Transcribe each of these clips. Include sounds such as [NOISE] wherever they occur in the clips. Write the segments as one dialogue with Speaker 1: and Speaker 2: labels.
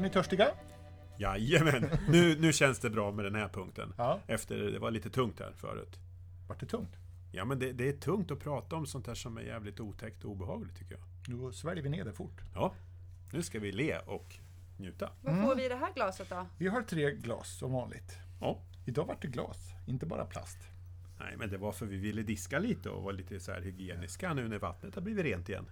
Speaker 1: ni törstiga?
Speaker 2: Jajamän! Nu, nu känns det bra med den här punkten.
Speaker 1: Ja.
Speaker 2: Efter det var lite tungt här förut.
Speaker 1: Vart det tungt?
Speaker 2: Ja, men det, det är tungt att prata om sånt här som är jävligt otäckt och obehagligt tycker jag.
Speaker 1: Då sväljer vi ner det fort.
Speaker 2: Ja, nu ska vi le och njuta.
Speaker 3: Vad får vi i det här glaset då?
Speaker 1: Vi har tre glas som vanligt.
Speaker 2: Ja.
Speaker 1: Idag vart det glas, inte bara plast. [LAUGHS]
Speaker 2: Nej, men det var för vi ville diska lite och vara lite så här hygieniska nu när vattnet har blivit rent igen.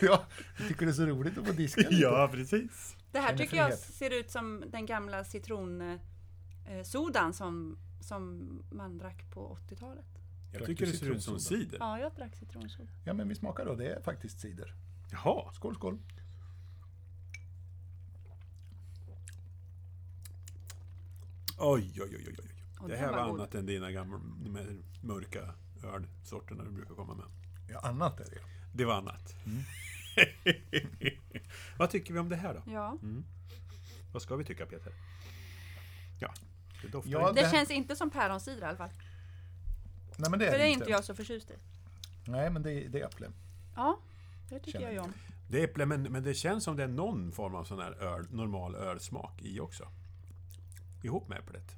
Speaker 1: Ja, jag tycker det är så roligt att få diska lite.
Speaker 2: precis.
Speaker 3: Det här
Speaker 1: Känner
Speaker 3: tycker jag
Speaker 1: frihet.
Speaker 3: ser ut som den gamla citronsodan som, som man drack på 80-talet.
Speaker 2: Jag tycker det ser ut som cider.
Speaker 3: Ja, jag drack citronsoda.
Speaker 1: Ja, men vi smakar då. Det är faktiskt cider.
Speaker 2: Jaha,
Speaker 1: Skål, skål.
Speaker 2: oj, oj, oj, oj, oj.
Speaker 3: Och
Speaker 2: Det
Speaker 3: den
Speaker 2: här var
Speaker 3: var god.
Speaker 2: annat än dina gamla de här mörka ölsorterna du brukar komma med.
Speaker 1: Ja, annat är det.
Speaker 2: Det var annat. [LAUGHS] Vad tycker vi om det här då?
Speaker 3: Ja.
Speaker 2: Vad ska vi tycka Peter? Ja, det doftar
Speaker 1: Ja,
Speaker 2: inte.
Speaker 3: Det
Speaker 1: Den-
Speaker 3: känns inte som päronsider i alla fall.
Speaker 1: Nej, men det är
Speaker 3: För det
Speaker 1: det
Speaker 3: är inte jag så förtjust i.
Speaker 1: Nej, men det, det är äpple.
Speaker 3: Ja, det tycker
Speaker 1: Känner
Speaker 3: jag ju om.
Speaker 2: Det är äpple, men, men det känns som det är någon form av sån här öl, normal ölsmak i också. Ihop med äpplet.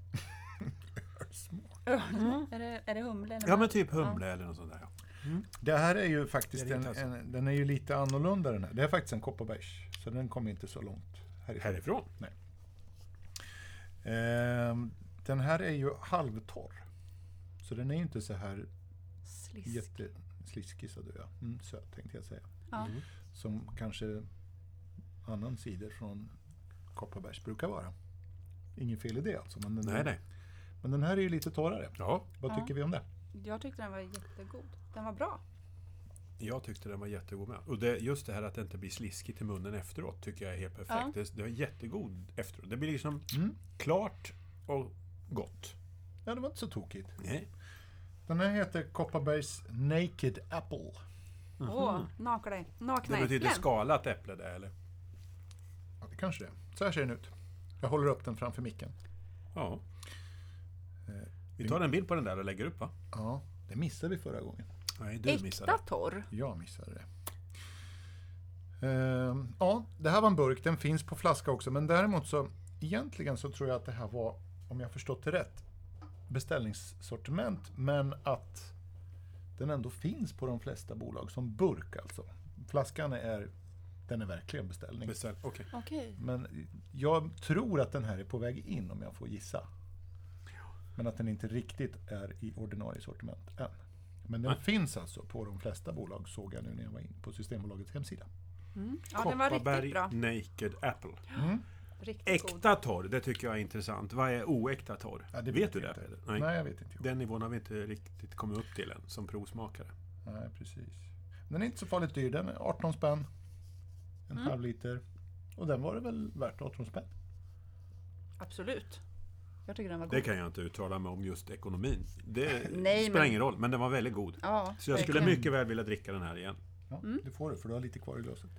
Speaker 3: Är, det, är det humle? Eller
Speaker 2: Ja,
Speaker 3: vad?
Speaker 2: men typ humle eller något sånt där. Ja.
Speaker 1: Det här är ju faktiskt
Speaker 2: Det är
Speaker 1: en,
Speaker 2: det inte
Speaker 1: en, den är ju lite annorlunda den här. Det är faktiskt en kopparbergs, så den kommer inte så långt härifrån.
Speaker 2: Härifrån?
Speaker 1: Ehm, den här är ju halvtorr. Så den är ju inte så här
Speaker 3: Slisk.
Speaker 1: jättesliskig sa du ja. Mm, söt tänkte jag säga.
Speaker 2: Mm.
Speaker 3: Ja.
Speaker 1: Som kanske annan cider från kopparbergs brukar vara. Inget fel i det alltså. Men den,
Speaker 2: Nej, nej.
Speaker 1: Men den här är ju lite torrare.
Speaker 2: Ja,
Speaker 1: Vad
Speaker 3: Ja.
Speaker 1: tycker vi om det?
Speaker 3: Jag tyckte den var jättegod. Den var bra.
Speaker 2: jag tyckte den var jättegod med. Och det, just det här att det inte blir sliskigt i munnen efteråt tycker jag är helt perfekt.
Speaker 3: Ja.
Speaker 2: Det, det var jättegod efteråt. Det blir liksom
Speaker 1: Mm.
Speaker 2: klart och gott.
Speaker 1: Ja, det var inte så tokigt.
Speaker 2: Nej.
Speaker 1: Den här heter Kopparbergs Naked Apple.
Speaker 3: Åh, oh, nakna
Speaker 2: Mhm. Det
Speaker 3: Nakna
Speaker 2: betyder
Speaker 3: äpplen.
Speaker 2: skalat äpple det, eller?
Speaker 1: Ja, det kanske det är. Så här ser den ut. Jag håller upp den framför micken.
Speaker 2: Ja. Eh, Vi tar en bild på den där och lägger upp va?
Speaker 1: Ja, det missade vi förra gången.
Speaker 2: Nej, du missade.
Speaker 3: Äkta torr.
Speaker 1: Jag missade det. Ehm, ja, det här var en burk. Den finns på flaska också. Men däremot så, egentligen så tror jag att det här var, om jag förstått det rätt, beställningssortiment. Men att den ändå finns på de flesta bolag som burk alltså. Flaskan är, den är verkligen beställning.
Speaker 2: Beställ. Okej.
Speaker 3: Okej.
Speaker 1: Men jag tror att den här är på väg in om jag får gissa. Men att den inte riktigt är i ordinarie sortiment än. Men den finns alltså på de flesta bolag såg jag nu när jag var inne på Systembolagets hemsida.
Speaker 3: Ja, den var riktigt
Speaker 2: Kopparberg
Speaker 3: bra.
Speaker 2: Naked Apple.
Speaker 3: Riktigt god.
Speaker 2: Äkta torr, det tycker jag är intressant. Vad är oäkta torr?
Speaker 1: Ja,
Speaker 2: vet,
Speaker 1: det
Speaker 2: du
Speaker 1: jag
Speaker 2: det
Speaker 1: inte.
Speaker 2: Peder?
Speaker 1: Nej.
Speaker 2: Nej.
Speaker 1: jag vet inte.
Speaker 2: Den nivån har vi inte riktigt kommit upp till än, som provsmakare.
Speaker 1: Nej, precis. Den är inte så farligt dyr. Den är 18 spänn. En halv liter. Och den var det väl värt 18 spänn?
Speaker 3: Absolut. Jag tycker den var god.
Speaker 2: Det kan jag inte uttala mig om just ekonomin. Det
Speaker 3: Nej,
Speaker 2: spelar
Speaker 3: men-
Speaker 2: ingen roll, men den var väldigt god.
Speaker 3: Ja,
Speaker 2: Så jag skulle
Speaker 3: verkligen.
Speaker 2: mycket väl vilja dricka den här igen. [LAUGHS]
Speaker 1: Ja, Det får du, för du har lite kvar i glaset.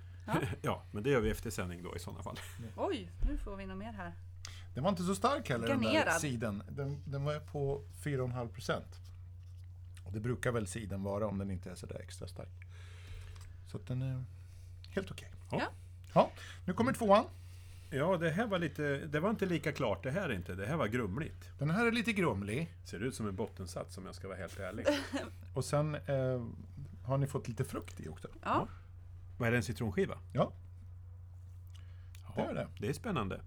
Speaker 2: Ja, men det gör vi efter sändning då i sådana fall.
Speaker 3: Oj, nu får vi något mer här.
Speaker 1: Den var inte så stark heller, den där
Speaker 3: Garnerad.
Speaker 1: siden. Den, den var på 4,5 procent. Och det brukar väl siden vara om den inte är sådär extra stark. Så att den är helt okej.
Speaker 2: Ja.
Speaker 3: Ja.
Speaker 1: Ja, nu kommer tvåan.
Speaker 2: Ja, det här var lite... Det var inte lika klart det här inte. Det här var grumligt.
Speaker 1: Den här är lite grumlig.
Speaker 2: Ser ut som en bottensats om jag ska vara helt ärlig.
Speaker 1: Och sen eh, har ni fått lite frukt i också.
Speaker 3: Ja,
Speaker 2: [LAUGHS] Vad är det, en citronskiva?
Speaker 1: Ja,
Speaker 2: Ja,
Speaker 1: Det Mm. är det.
Speaker 2: är spännande.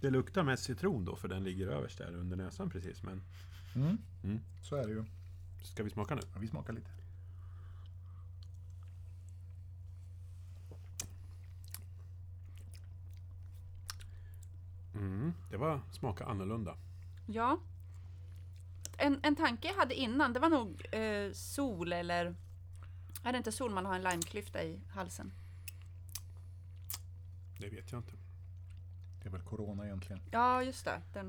Speaker 2: Det luktar mest citron då, för den ligger överst där under näsan precis. Men
Speaker 1: Mm. så är det ju.
Speaker 2: ska vi smaka nu?
Speaker 1: Ja, vi smakar lite.
Speaker 2: Mm, det var smaka annorlunda.
Speaker 3: ja. En, en tanke jag hade innan, det var nog eh, sol eller... Är det inte sol man har en limeklyfta i halsen?
Speaker 2: Det vet jag inte.
Speaker 1: Det är väl corona egentligen.
Speaker 3: Ja, just det. Den.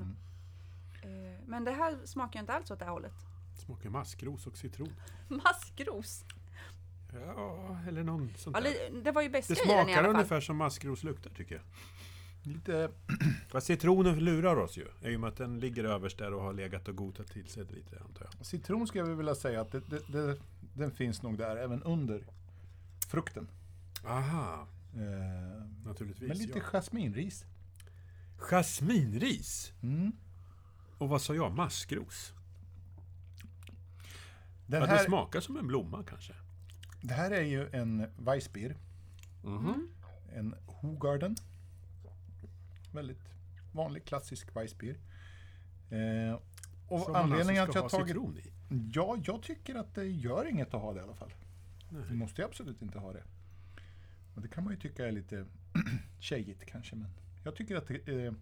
Speaker 2: Mm.
Speaker 3: Eh, men det här smakar ju inte alls åt det här hållet.
Speaker 2: Smakar maskros och citron.
Speaker 3: [LAUGHS] Maskros!
Speaker 2: Ja, eller någon sånt
Speaker 3: Ja,
Speaker 2: där.
Speaker 3: li- det var ju bäst
Speaker 2: Det
Speaker 3: i den i
Speaker 2: smakar
Speaker 3: alla fall.
Speaker 2: ungefär som maskros luktar tycker jag.
Speaker 1: Lite
Speaker 2: Fast citronen lurar oss ju. I och med att den ligger överst där och har legat och gotat till sig lite antar jag.
Speaker 1: citron skulle jag vilja säga att det, det, det, den finns nog där även under frukten.
Speaker 2: Aha,
Speaker 1: Eh,
Speaker 2: Naturligtvis.
Speaker 1: men lite
Speaker 2: ja.
Speaker 1: jasminris.
Speaker 2: Jasminris.
Speaker 1: Mm.
Speaker 2: Och vad sa jag? Maskros.
Speaker 1: Den
Speaker 2: ja, det
Speaker 1: här,
Speaker 2: smakar som en blomma kanske.
Speaker 1: det här är ju en Weissbier. Mhm.
Speaker 2: Mm.
Speaker 1: En Hogarden. Väldigt vanlig klassisk Weissbier. Eh, och
Speaker 2: Som man
Speaker 1: anledningen
Speaker 2: alltså
Speaker 1: att
Speaker 2: ska
Speaker 1: jag
Speaker 2: ha
Speaker 1: har tagit...
Speaker 2: citron
Speaker 1: [LAUGHS]
Speaker 2: i.
Speaker 1: Ja, jag tycker att det gör inget att ha det i alla fall. Du
Speaker 2: Nej.
Speaker 1: måste ju absolut inte ha det. Och det kan man ju tycka är lite [CLEARS THROAT] tjejigt kanske, men jag tycker att det eh,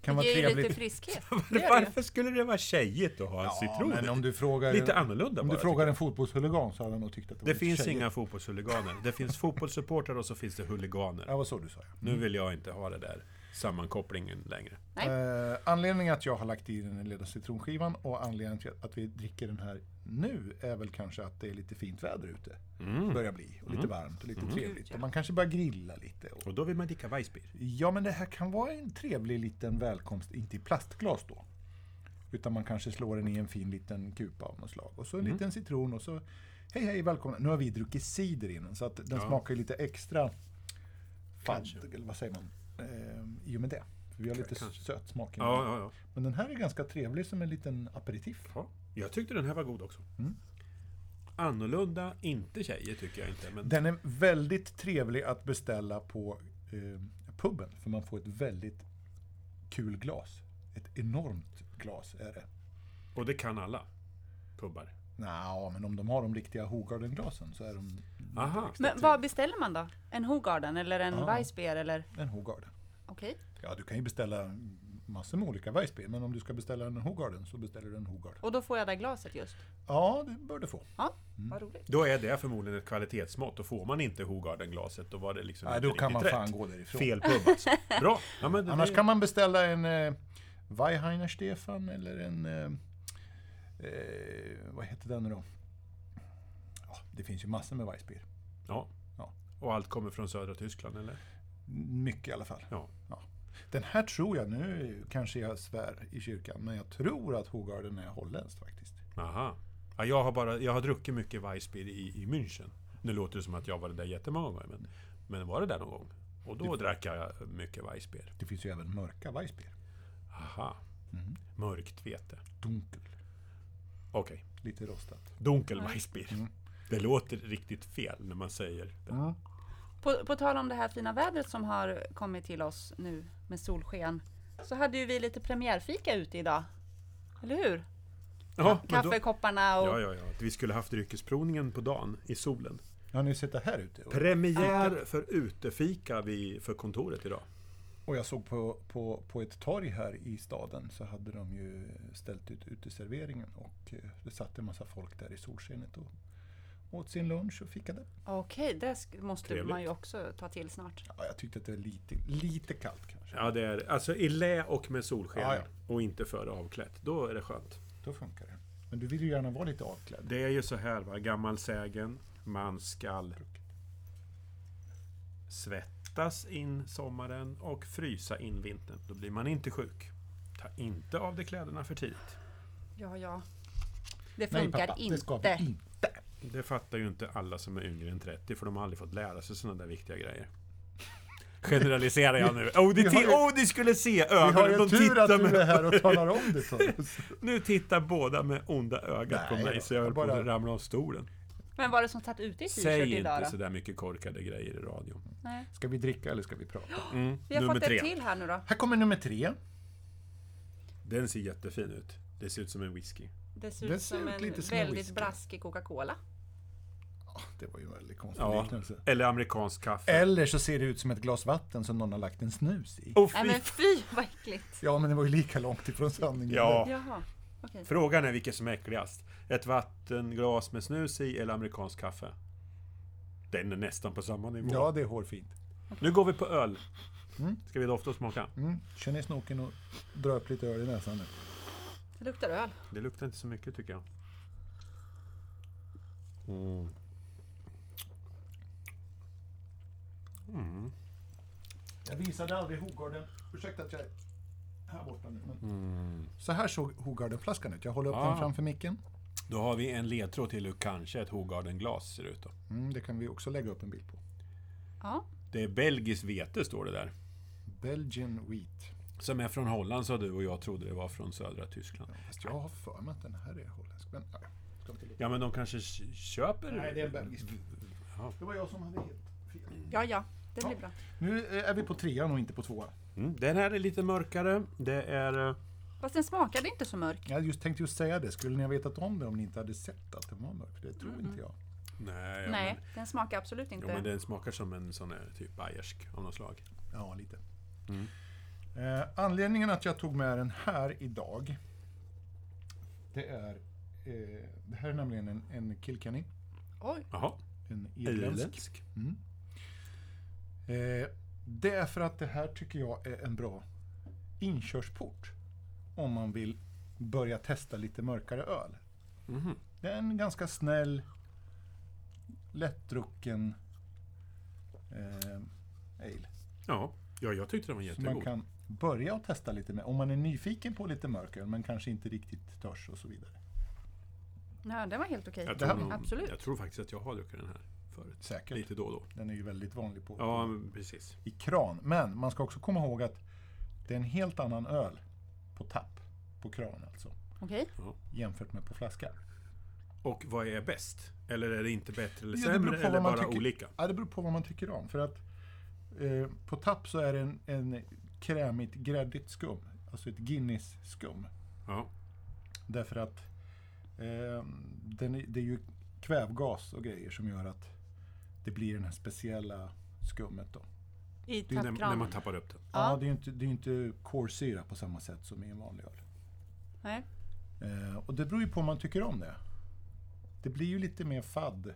Speaker 1: kan vara
Speaker 3: det ger ju
Speaker 1: trevligt.
Speaker 3: lite friskhet.
Speaker 2: [LAUGHS]
Speaker 3: Det gör det ju.
Speaker 2: Varför skulle det vara tjejigt att ha en
Speaker 1: ja,
Speaker 2: citron
Speaker 1: men
Speaker 2: i?
Speaker 1: om du frågar,
Speaker 2: Lite annorlunda
Speaker 1: om
Speaker 2: bara,
Speaker 1: du frågar
Speaker 2: tycker
Speaker 1: en fotbollshuligan så hade han nog tyckt att det var
Speaker 2: jag. Det
Speaker 1: lite
Speaker 2: finns
Speaker 1: tjejigt.
Speaker 2: inga fotbollshuliganer.
Speaker 1: [LAUGHS]
Speaker 2: Det finns fotbollssupportrar och så finns det huliganer.
Speaker 1: Ja, vad så du sa. Ja.
Speaker 2: Nu vill jag inte ha det där sammankopplingen längre.
Speaker 3: Nej.
Speaker 1: Eh, anledningen att jag har lagt i den lilla citronskivan och anledningen till att vi dricker den här nu är väl kanske att det är lite fint väder ute.
Speaker 2: Mm.
Speaker 1: Börjar bli. Och lite varmt och lite
Speaker 3: Gud,
Speaker 1: trevligt.
Speaker 3: ja.
Speaker 1: Och man kanske börjar grilla lite. Och,
Speaker 2: Och då vill man dricka Weissbier.
Speaker 1: ja, men det här kan vara en trevlig liten välkomst. Inte i plastglas då. Utan man kanske slår den i en fin liten kupa av något slag. Och så
Speaker 2: Mm.
Speaker 1: en liten citron och så Hej hej, välkomna. Nu har vi druckit cider innan så att den
Speaker 2: Ja.
Speaker 1: smakar ju lite extra
Speaker 2: Kanske.
Speaker 1: fadd, eller vad säger man? Eh, I och med det. För vi har lite
Speaker 2: Kanske.
Speaker 1: söt smak i den.
Speaker 2: Ja, ja, ja.
Speaker 1: Men den här är ganska trevlig som en liten aperitif.
Speaker 2: ja. Jag tyckte den här var god också.
Speaker 1: Mm.
Speaker 2: Annorlunda, inte tjejer tycker jag inte. Men
Speaker 1: Den är väldigt trevlig att beställa på eh, puben, för man får ett väldigt kul glas. Ett enormt glas är det.
Speaker 2: Och det kan alla pubbar.
Speaker 1: Nja, men om de har de riktiga Hogarden-glasen så är de
Speaker 2: Aha.
Speaker 3: Men vad beställer man då? En Hogarden eller en
Speaker 1: Ja.
Speaker 3: Weissbier eller?
Speaker 1: en Hogarden.
Speaker 3: Okej.
Speaker 1: Ja, du kan ju beställa massor med olika Weissbier, men om du ska beställa en Hogarden så beställer du en Hogarden.
Speaker 3: Och då får jag det glaset just.
Speaker 1: Ja, det bör du få.
Speaker 3: Ja, vad roligt.
Speaker 2: Då är det förmodligen ett kvalitetsmått och får man inte Hogarden-glaset då var det liksom
Speaker 1: Nej,
Speaker 2: inte
Speaker 1: då kan
Speaker 2: riktigt
Speaker 1: man
Speaker 2: rätt.
Speaker 1: fan gå därifrån.
Speaker 2: Fel pub
Speaker 1: [LAUGHS]
Speaker 2: alltså. Bra! Ja, men det-
Speaker 1: Annars kan man beställa en eh, Weihainer Stefan eller en... Eh, eh, vad heter den nu då? Ja, det finns ju massor med Weissbier.
Speaker 2: Ja.
Speaker 1: Ja.
Speaker 2: Och allt kommer från södra Tyskland eller?
Speaker 1: Mycket i alla fall.
Speaker 2: Ja.
Speaker 1: Den här tror jag, nu kanske jag svär i kyrkan, men jag tror att Hogarden är holländskt faktiskt.
Speaker 2: Aha. Ja, jag, har bara, jag har druckit mycket Weissbier i, i München. Nu låter det som att jag var där jättemånga gånger, men, men var det där någon gång? Och då drack jag mycket Weissbier.
Speaker 1: Det finns ju även mörka Weissbier.
Speaker 2: Aha.
Speaker 1: Mm.
Speaker 2: Mörkt vete.
Speaker 1: Dunkel,
Speaker 2: Okej.
Speaker 1: lite rostat.
Speaker 2: Dunkel Weissbier.
Speaker 1: Mm.
Speaker 2: Det låter riktigt fel när man säger det.
Speaker 3: På, på tal om det här fina vädret som har kommit till oss nu med solsken. Så hade ju vi lite premiärfika ute idag. Eller hur?
Speaker 2: Ja, men då-
Speaker 3: Kaffekopparna och...
Speaker 2: Ja, ja, ja. Att Vi skulle haft dryckesprovningen på dagen i solen.
Speaker 1: Har ni sett det här ute? Och-
Speaker 2: Premiär för utefika vid, för kontoret idag.
Speaker 1: Och jag såg på, på, på ett torg här i staden så hade de ju ställt ut uteserveringen och eh, det satt en massa folk där i solskenet och åt sin lunch och fikade.
Speaker 3: Okej, det sk- måste
Speaker 2: Trevligt.
Speaker 3: man ju också ta till snart.
Speaker 1: Ja, jag tyckte att det var lite, lite kallt kanske.
Speaker 2: Ja, det är alltså i lä och med solsken
Speaker 1: Ja, ja.
Speaker 2: och inte före avklätt. Då är det skönt.
Speaker 1: Då funkar det. Men du vill ju gärna vara lite avklädd.
Speaker 2: Det är ju så här, va? gammal sägen. Man skall svettas in sommaren och frysa in vintern. Då blir man inte sjuk. Ta inte av dig kläderna för tidigt.
Speaker 3: Ja, ja. Det
Speaker 1: Nej
Speaker 3: funkar
Speaker 1: pappa,
Speaker 3: inte.
Speaker 1: det ska vi inte.
Speaker 2: Det fattar ju inte alla som är yngre än 30, för de har aldrig fått lära sig sådana där viktiga grejer. Generaliserar jag nu. Oh,
Speaker 1: [LAUGHS]
Speaker 2: ni,
Speaker 1: Vi har
Speaker 2: ti-
Speaker 1: ju-
Speaker 2: oh, ni skulle se
Speaker 1: Vi har
Speaker 2: ögonen!
Speaker 1: ju
Speaker 2: De
Speaker 1: tur att
Speaker 2: tittar
Speaker 1: du är
Speaker 2: med,
Speaker 1: här och talar om det för oss.
Speaker 2: [LAUGHS] nu tittar båda med onda ögat på
Speaker 1: Nej
Speaker 2: mig,
Speaker 1: då,
Speaker 2: så jag höll
Speaker 1: jag
Speaker 2: på
Speaker 1: bara-
Speaker 2: att ramla av stolen.
Speaker 3: Men var det som satt ute i t-shirt
Speaker 2: Säg
Speaker 3: idag
Speaker 2: inte
Speaker 3: då?
Speaker 2: sådär mycket korkade grejer i radion.
Speaker 3: Nej.
Speaker 1: [LAUGHS] Ska vi dricka eller ska vi prata?
Speaker 2: Mm,
Speaker 3: Vi har
Speaker 2: nummer
Speaker 3: fått
Speaker 2: tre.
Speaker 3: ett till här nu då.
Speaker 1: Här kommer nummer tre.
Speaker 2: Den ser jättefin ut. Det ser ut som en whisky.
Speaker 3: Det ser
Speaker 1: Det
Speaker 3: ut
Speaker 1: ser
Speaker 3: som
Speaker 1: ut lite
Speaker 3: en väldigt
Speaker 1: som en whisky.
Speaker 3: braskig Coca-Cola.
Speaker 1: Ja, det var ju en väldigt konstig
Speaker 2: Ja,
Speaker 1: liknelse.
Speaker 2: eller amerikansk kaffe.
Speaker 1: Eller så ser det ut som ett glas vatten som någon har lagt en snus i.
Speaker 2: Åh,
Speaker 3: Nej
Speaker 2: fy!
Speaker 3: men fy vad äckligt!
Speaker 1: Ja, men det var ju lika långt ifrån sanningen.
Speaker 2: Ja.
Speaker 3: Jaha, okej.
Speaker 2: Frågan är vilket som är äckligast. Ett vattenglas med snus i eller amerikansk kaffe? Den är nästan på samma nivå.
Speaker 1: Ja, det är hårfint.
Speaker 2: Nu går vi på öl.
Speaker 1: Mm.
Speaker 2: Ska vi dofta och smaka?
Speaker 1: Mm. Känn i snoken och dra upp lite öl i näsan nu.
Speaker 3: Det luktar öl.
Speaker 2: Det luktar inte så mycket tycker jag. Mm.
Speaker 1: Jag visade aldrig Hogarden. Ursäkta att jag är här borta nu. Men... Så här såg Hogardenflaskan ut. Jag håller upp
Speaker 2: Mm. Ah.
Speaker 1: den framför micken.
Speaker 2: Då har vi en ledtråd till hur kanske ett Hogarden-glas ser ut. Då.
Speaker 1: Mm, det kan vi också lägga upp en bild på.
Speaker 3: Ja.
Speaker 2: Det är belgiskt vete, står det där.
Speaker 1: Belgian Wheat.
Speaker 2: Som är från Holland, sa du, och jag trodde det var från södra Tyskland.
Speaker 1: Fast jag har för mig att den här är holländsk. Men, nej, ska inte låta.
Speaker 2: Ja, men de kanske k- köper...
Speaker 1: nej, det är en belgisk.
Speaker 2: Ja.
Speaker 1: Det var jag som hade helt fel.
Speaker 3: Ja, ja. Det blir bra.
Speaker 1: Nu eh, är vi på trean och inte på tvåan.
Speaker 2: Mm, den här är lite mörkare. Det är... eh,
Speaker 3: Fast den smakade inte så mörk.
Speaker 1: Jag just, tänkte just säga det. Skulle ni ha vetat om det om ni inte hade sett att den var mörk? Det tror inte jag.
Speaker 2: Nej, ja,
Speaker 3: Nej,
Speaker 2: Eh, Men,
Speaker 3: den smakar absolut
Speaker 2: jo,
Speaker 3: inte.
Speaker 2: men den smakar som en sån här typ bayersk av något slag.
Speaker 1: Ja, lite. Eh, anledningen att jag tog med den här idag, det är... Eh, det här är nämligen en, en Kilkenny,
Speaker 3: Oj,
Speaker 2: Jaha.
Speaker 1: en irländsk.
Speaker 2: Irländsk.
Speaker 1: Eh, det är för att det här tycker jag är en bra inkörsport om man vill börja testa lite mörkare öl.
Speaker 2: Mhm.
Speaker 1: Det är en ganska snäll, lättdrucken eh, ale.
Speaker 2: Ja. ja, jag tyckte den var
Speaker 1: Som man
Speaker 2: jättegod.
Speaker 1: kan börja och testa lite med. Om man är nyfiken på lite mörköl men kanske inte riktigt törs och så vidare.
Speaker 3: nej, den var helt okej.
Speaker 2: Jag
Speaker 1: Det här-
Speaker 2: tror, nog,
Speaker 3: Absolut.
Speaker 2: jag tror faktiskt att jag har druckit den här förut.
Speaker 1: Säkert.
Speaker 2: Lite då och då.
Speaker 1: Den är ju väldigt vanlig på,
Speaker 2: Ja, men precis.
Speaker 1: i kran. Men man ska också komma ihåg att det är en helt annan öl på tapp, på kran alltså,
Speaker 3: Okej.
Speaker 1: jämfört med på flaska.
Speaker 2: Och vad är bäst? Eller är det inte bättre eller
Speaker 1: Ja, det beror på
Speaker 2: sämre?
Speaker 1: vad
Speaker 2: eller
Speaker 1: man
Speaker 2: bara
Speaker 1: tycker.
Speaker 2: olika?
Speaker 1: Ja, det beror på vad man tycker om. För att eh, på tapp så är det en, en krämigt gräddigt skum. Alltså ett Guinness-skum.
Speaker 2: Ja.
Speaker 1: Därför att eh, den, är- det är ju kvävgas och grejer som gör att det blir det här speciella skummet. Då.
Speaker 3: I
Speaker 2: Det är när, när man
Speaker 3: tappkranen.
Speaker 2: tappar upp den.
Speaker 1: Ja.
Speaker 3: Ja.
Speaker 1: det är ju inte, det är ju inte kolsyra på samma sätt som i en vanlig öl.
Speaker 3: Nej.
Speaker 1: Eh, och det beror ju på om man tycker om det. Det blir ju lite mer fadd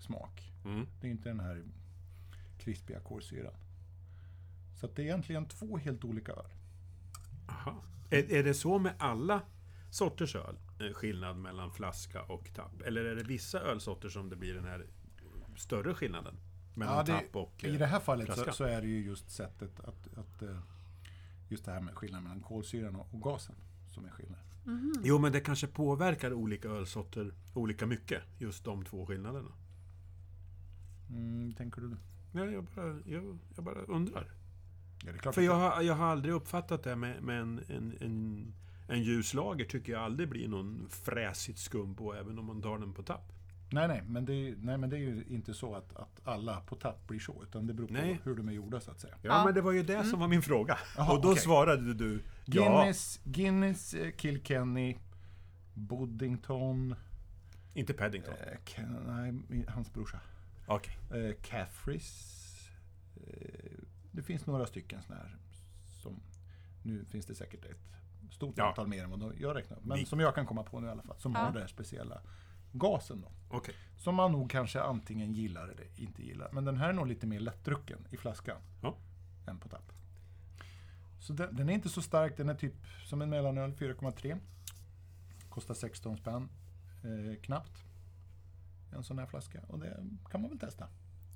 Speaker 1: smak.
Speaker 2: Mm.
Speaker 1: Det är inte den här krispiga kolsyran. Så att det är egentligen två helt olika öl.
Speaker 2: Aha. Är, är det så med alla sorters öl? Eh, Skillnad mellan flaska och tapp? Eller är det vissa ölsorter som det blir den här större skillnaden? Mellan
Speaker 1: Ja, det-
Speaker 2: tapp och...
Speaker 1: I
Speaker 2: eh,
Speaker 1: det här fallet så,
Speaker 2: flaska.
Speaker 1: så är det ju just sättet att, att eh, just det här med skillnaden mellan kolsyran och, och gasen som är skillnaden.
Speaker 2: Jo, men det kanske påverkar olika ölsorter olika mycket. Just de två skillnaderna.
Speaker 1: Mm, tänker du?
Speaker 2: Nej, jag bara, jag, jag bara undrar.
Speaker 1: Ja, det är klart
Speaker 2: För
Speaker 1: att
Speaker 2: jag,
Speaker 1: det-
Speaker 2: har- jag har aldrig uppfattat det med, med en, en, en, en ljus lager tycker jag aldrig blir någon fräsigt skum på, även om man tar den på tapp.
Speaker 1: nej, nej, men det, är- nej, men det är ju inte så att, att alla på tapp blir så, utan det beror på
Speaker 2: Nej.
Speaker 1: hur de är gjorda så att säga.
Speaker 2: Ja,
Speaker 3: Ja.
Speaker 2: men det var ju det som var min fråga.
Speaker 1: Jaha,
Speaker 2: och då
Speaker 1: okej.
Speaker 2: svarade du ja,
Speaker 1: Mm. Guinness, Guinness eh, Kilkenny, Boddington,
Speaker 2: inte Paddington.
Speaker 1: eh, Ken, nej, hans brorsa.
Speaker 2: Okej.
Speaker 1: Eh, Caffreys. Eh, det finns några stycken sådana här. Som, nu finns det säkert ett stort
Speaker 2: Ja.
Speaker 1: antal mer än vad jag räknar upp. Men
Speaker 2: Vi-
Speaker 1: som jag kan komma på nu i alla fall. Som
Speaker 3: Ja.
Speaker 1: har den här speciella gasen då.
Speaker 2: Okej.
Speaker 1: Som man nog kanske antingen gillar eller inte gillar. Men den här är nog lite mer lättdrucken i flaskan.
Speaker 2: Ja.
Speaker 1: Än på tapp. Så den, den är inte så stark. Den är typ som en mellanöl, 4,3. Kostar 16 spänn. Eh, knappt. En sån här flaska. Och det kan man väl testa.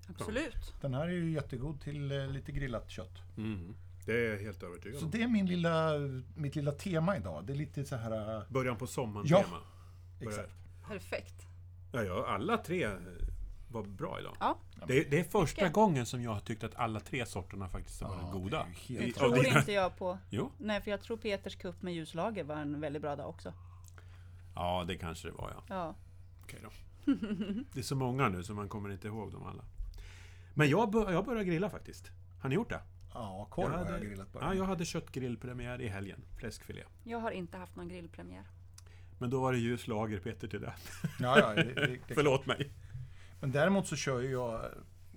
Speaker 3: Absolut.
Speaker 1: Den här är ju jättegod till eh, lite grillat kött.
Speaker 2: Mm. Det är jag helt övertygad
Speaker 1: Så
Speaker 2: om.
Speaker 1: det är min lilla, mitt lilla tema idag. Det är lite så här... eh,
Speaker 2: Början på sommaren
Speaker 1: Ja.
Speaker 2: tema.
Speaker 1: Exakt.
Speaker 3: Perfekt.
Speaker 2: Ja, ja, alla tre eh, var bra idag.
Speaker 3: Ja.
Speaker 2: Det, det är första
Speaker 3: Mycket.
Speaker 2: gången som jag har tyckt att alla tre sorterna faktiskt har varit
Speaker 1: Ja,
Speaker 2: goda.
Speaker 1: det är ju
Speaker 3: Nu
Speaker 1: helt
Speaker 2: I- av
Speaker 3: tror
Speaker 2: dina-
Speaker 3: inte jag på...
Speaker 2: Jo.
Speaker 3: Nej, för jag tror Peters kupp med ljuslager var en väldigt bra dag också.
Speaker 2: Ja, det kanske det var ja.
Speaker 3: Ja.
Speaker 2: Okej då. Det är så många nu så man kommer inte ihåg dem alla. Men jag, bör, jag börjar grilla faktiskt. Har ni gjort det?
Speaker 1: Ja, korv har jag
Speaker 2: hade-
Speaker 1: grillat bara.
Speaker 2: Ja, jag hade köttgrillpremiär i helgen. Fläskfilé.
Speaker 3: Jag har inte haft någon grillpremiär.
Speaker 2: Men då var det ljus lager Peter till det.
Speaker 1: ja, ja, det, det, det.
Speaker 2: Förlåt mig.
Speaker 1: Men däremot så kör ju jag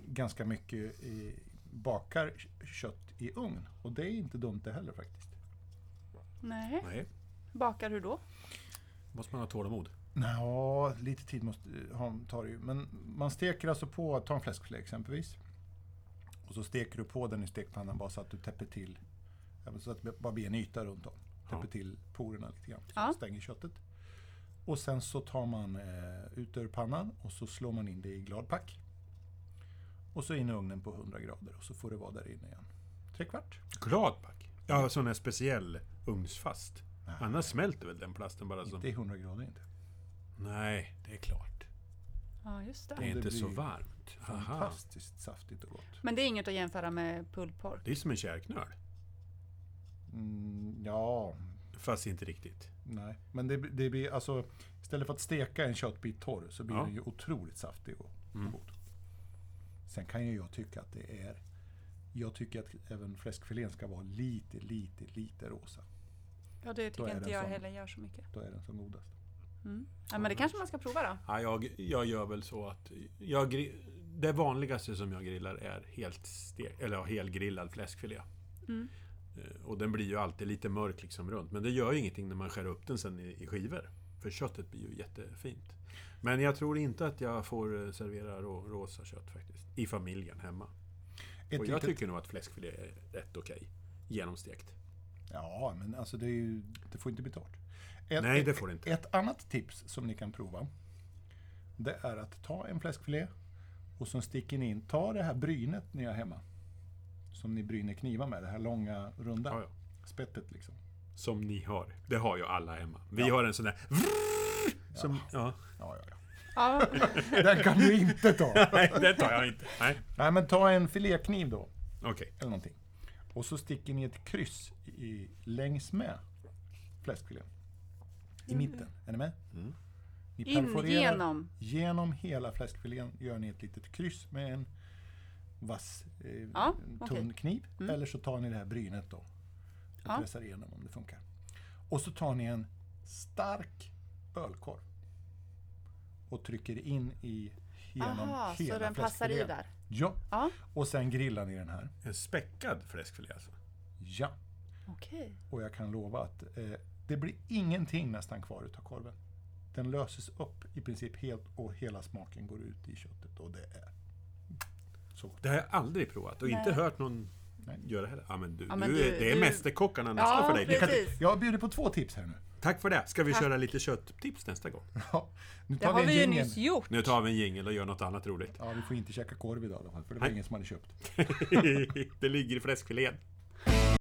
Speaker 1: ganska mycket i, bakar k- kött i ugn. Och det är inte dumt det heller faktiskt.
Speaker 3: Nej.
Speaker 2: Nej,
Speaker 3: Bakar du då?
Speaker 2: måste man ha tålamod.
Speaker 1: Ja, lite tid måste, ha- tar det ju. Men man steker alltså på, ta en fläskfilé exempelvis. Och så steker du på den i stekpannan bara så att du täpper till, ja, men så att det bara blir en yta runt om. Täpper
Speaker 2: Ja.
Speaker 1: till porerna lite grann, så
Speaker 3: Ja.
Speaker 1: du stänger köttet. Och sen så tar man eh, ut ur pannan och så slår man in det i gladpack. Och så in i ugnen på 100 grader och så får det vara där inne igen. Tre kvart.
Speaker 2: Gladpack? Ja, sån här speciell ugnsfast. alltså. Annars smälter väl den plasten bara som...
Speaker 1: Inte i 100 grader inte.
Speaker 2: Nej, det är klart.
Speaker 3: Ja, just
Speaker 2: Det är
Speaker 3: det.
Speaker 1: det
Speaker 2: inte så
Speaker 1: blir
Speaker 2: varmt. Aha.
Speaker 1: Fantastiskt saftigt och gott.
Speaker 3: Men det är inget att jämföra med pulled pork.
Speaker 2: Det är som en kärknöl.
Speaker 1: Mm, ja,
Speaker 2: Fast inte riktigt.
Speaker 1: nej. Men det, det blir alltså, istället för att steka en köttbit torr så blir
Speaker 2: Ja.
Speaker 1: den ju otroligt saftig och
Speaker 2: Mm.
Speaker 1: god. Sen kan ju jag tycka att det är, jag tycker att även fläskfilén ska vara lite, lite, lite rosa.
Speaker 3: Ja, det
Speaker 1: Då är
Speaker 3: tycker inte
Speaker 1: den
Speaker 3: jag
Speaker 1: sån.
Speaker 3: heller gör så mycket.
Speaker 1: Då är den som godast.
Speaker 3: Mm. Ja, men det kanske man ska prova då.
Speaker 2: Ja, jag, jag gör väl så att... Jag, gri- det vanligaste som jag grillar är helt stek, eller ja, helgrillad fläskfilé.
Speaker 3: Mm.
Speaker 2: Eh, Och den blir ju alltid lite mörk liksom runt. Men det gör ju ingenting när man skär upp den sen i, i skivor. För köttet blir ju jättefint. Men jag tror inte att jag får eh, servera rå, rosa kött faktiskt. I familjen hemma.
Speaker 1: Ett
Speaker 2: Och jag
Speaker 1: litet-
Speaker 2: tycker nog att fläskfilé är rätt okej. Genomstekt.
Speaker 1: Ja, men alltså det, är ju, det får inte bli torrt. Ett,
Speaker 2: Nej, det får det inte.
Speaker 1: Ett annat tips som ni kan prova, det är att ta en fläskfilé och så sticker ni in, ta det här brynet ni har hemma, som ni bryner knivar med, det här långa runda
Speaker 2: Ja, ja.
Speaker 1: spettet liksom.
Speaker 2: Som ni har. Det har ju alla hemma. Vi har en sån där... [LAUGHS] Som, ja.
Speaker 1: Ja, ja,
Speaker 2: [LAUGHS]
Speaker 3: Ja,
Speaker 1: ja. Den kan du inte ta!
Speaker 2: Nej, det tar jag inte. Nej,
Speaker 1: Nej, men ta en filékniv då,
Speaker 2: okej.
Speaker 1: eller någonting. Och så sticker ni ett kryss i, längs med fläskfilén. I mitten, är ni med? Ni
Speaker 3: Mm. in
Speaker 1: perforerar-
Speaker 3: genom.
Speaker 1: Genom hela fläskfilén gör ni ett litet kryss med en vass, eh,
Speaker 3: Ja,
Speaker 1: tunn
Speaker 3: okej. Mm.
Speaker 1: kniv. Eller så tar ni det här brynet då och
Speaker 3: Ja.
Speaker 1: pressar igenom om det funkar. Och så tar ni en stark ölkorv och trycker in i genom
Speaker 3: Aha,
Speaker 1: hela
Speaker 3: så den passar i
Speaker 1: fläskfilén.
Speaker 3: där.
Speaker 1: Ja,
Speaker 3: Ja,
Speaker 1: och sen grillar ni den här.
Speaker 2: En späckad fläskfilé alltså.
Speaker 1: Ja,
Speaker 3: okej.
Speaker 1: och jag kan lova att eh, det blir ingenting nästan kvar utav korven. Den löses upp i princip helt och hela smaken går ut i köttet och det är så gott.
Speaker 2: Det har jag aldrig provat och inte
Speaker 3: Nej.
Speaker 2: hört någon
Speaker 1: Nej.
Speaker 2: göra heller. Ja, men du,
Speaker 3: Ja, men
Speaker 2: du,
Speaker 3: du-
Speaker 2: det är
Speaker 3: du-
Speaker 2: mästerkockarna nästa
Speaker 3: Ja,
Speaker 2: för dig. Du kan-
Speaker 3: precis.
Speaker 1: Jag bjuder på två tips här nu. [LAUGHS]
Speaker 2: Tack för det. Ska vi
Speaker 3: Tack.
Speaker 2: köra lite kötttips nästa gång?
Speaker 1: Ja, nu
Speaker 3: Det
Speaker 1: tar
Speaker 3: har
Speaker 1: vi en
Speaker 3: vi ju
Speaker 1: jingle.
Speaker 3: nyss gjort.
Speaker 2: Nu tar vi en jingel och gör något annat roligt. [LAUGHS]
Speaker 1: Ja, vi får inte käka korv idag i alla fall, för det var
Speaker 2: Nej.
Speaker 1: ingen som hade köpt.
Speaker 2: det ligger i fläskfilén.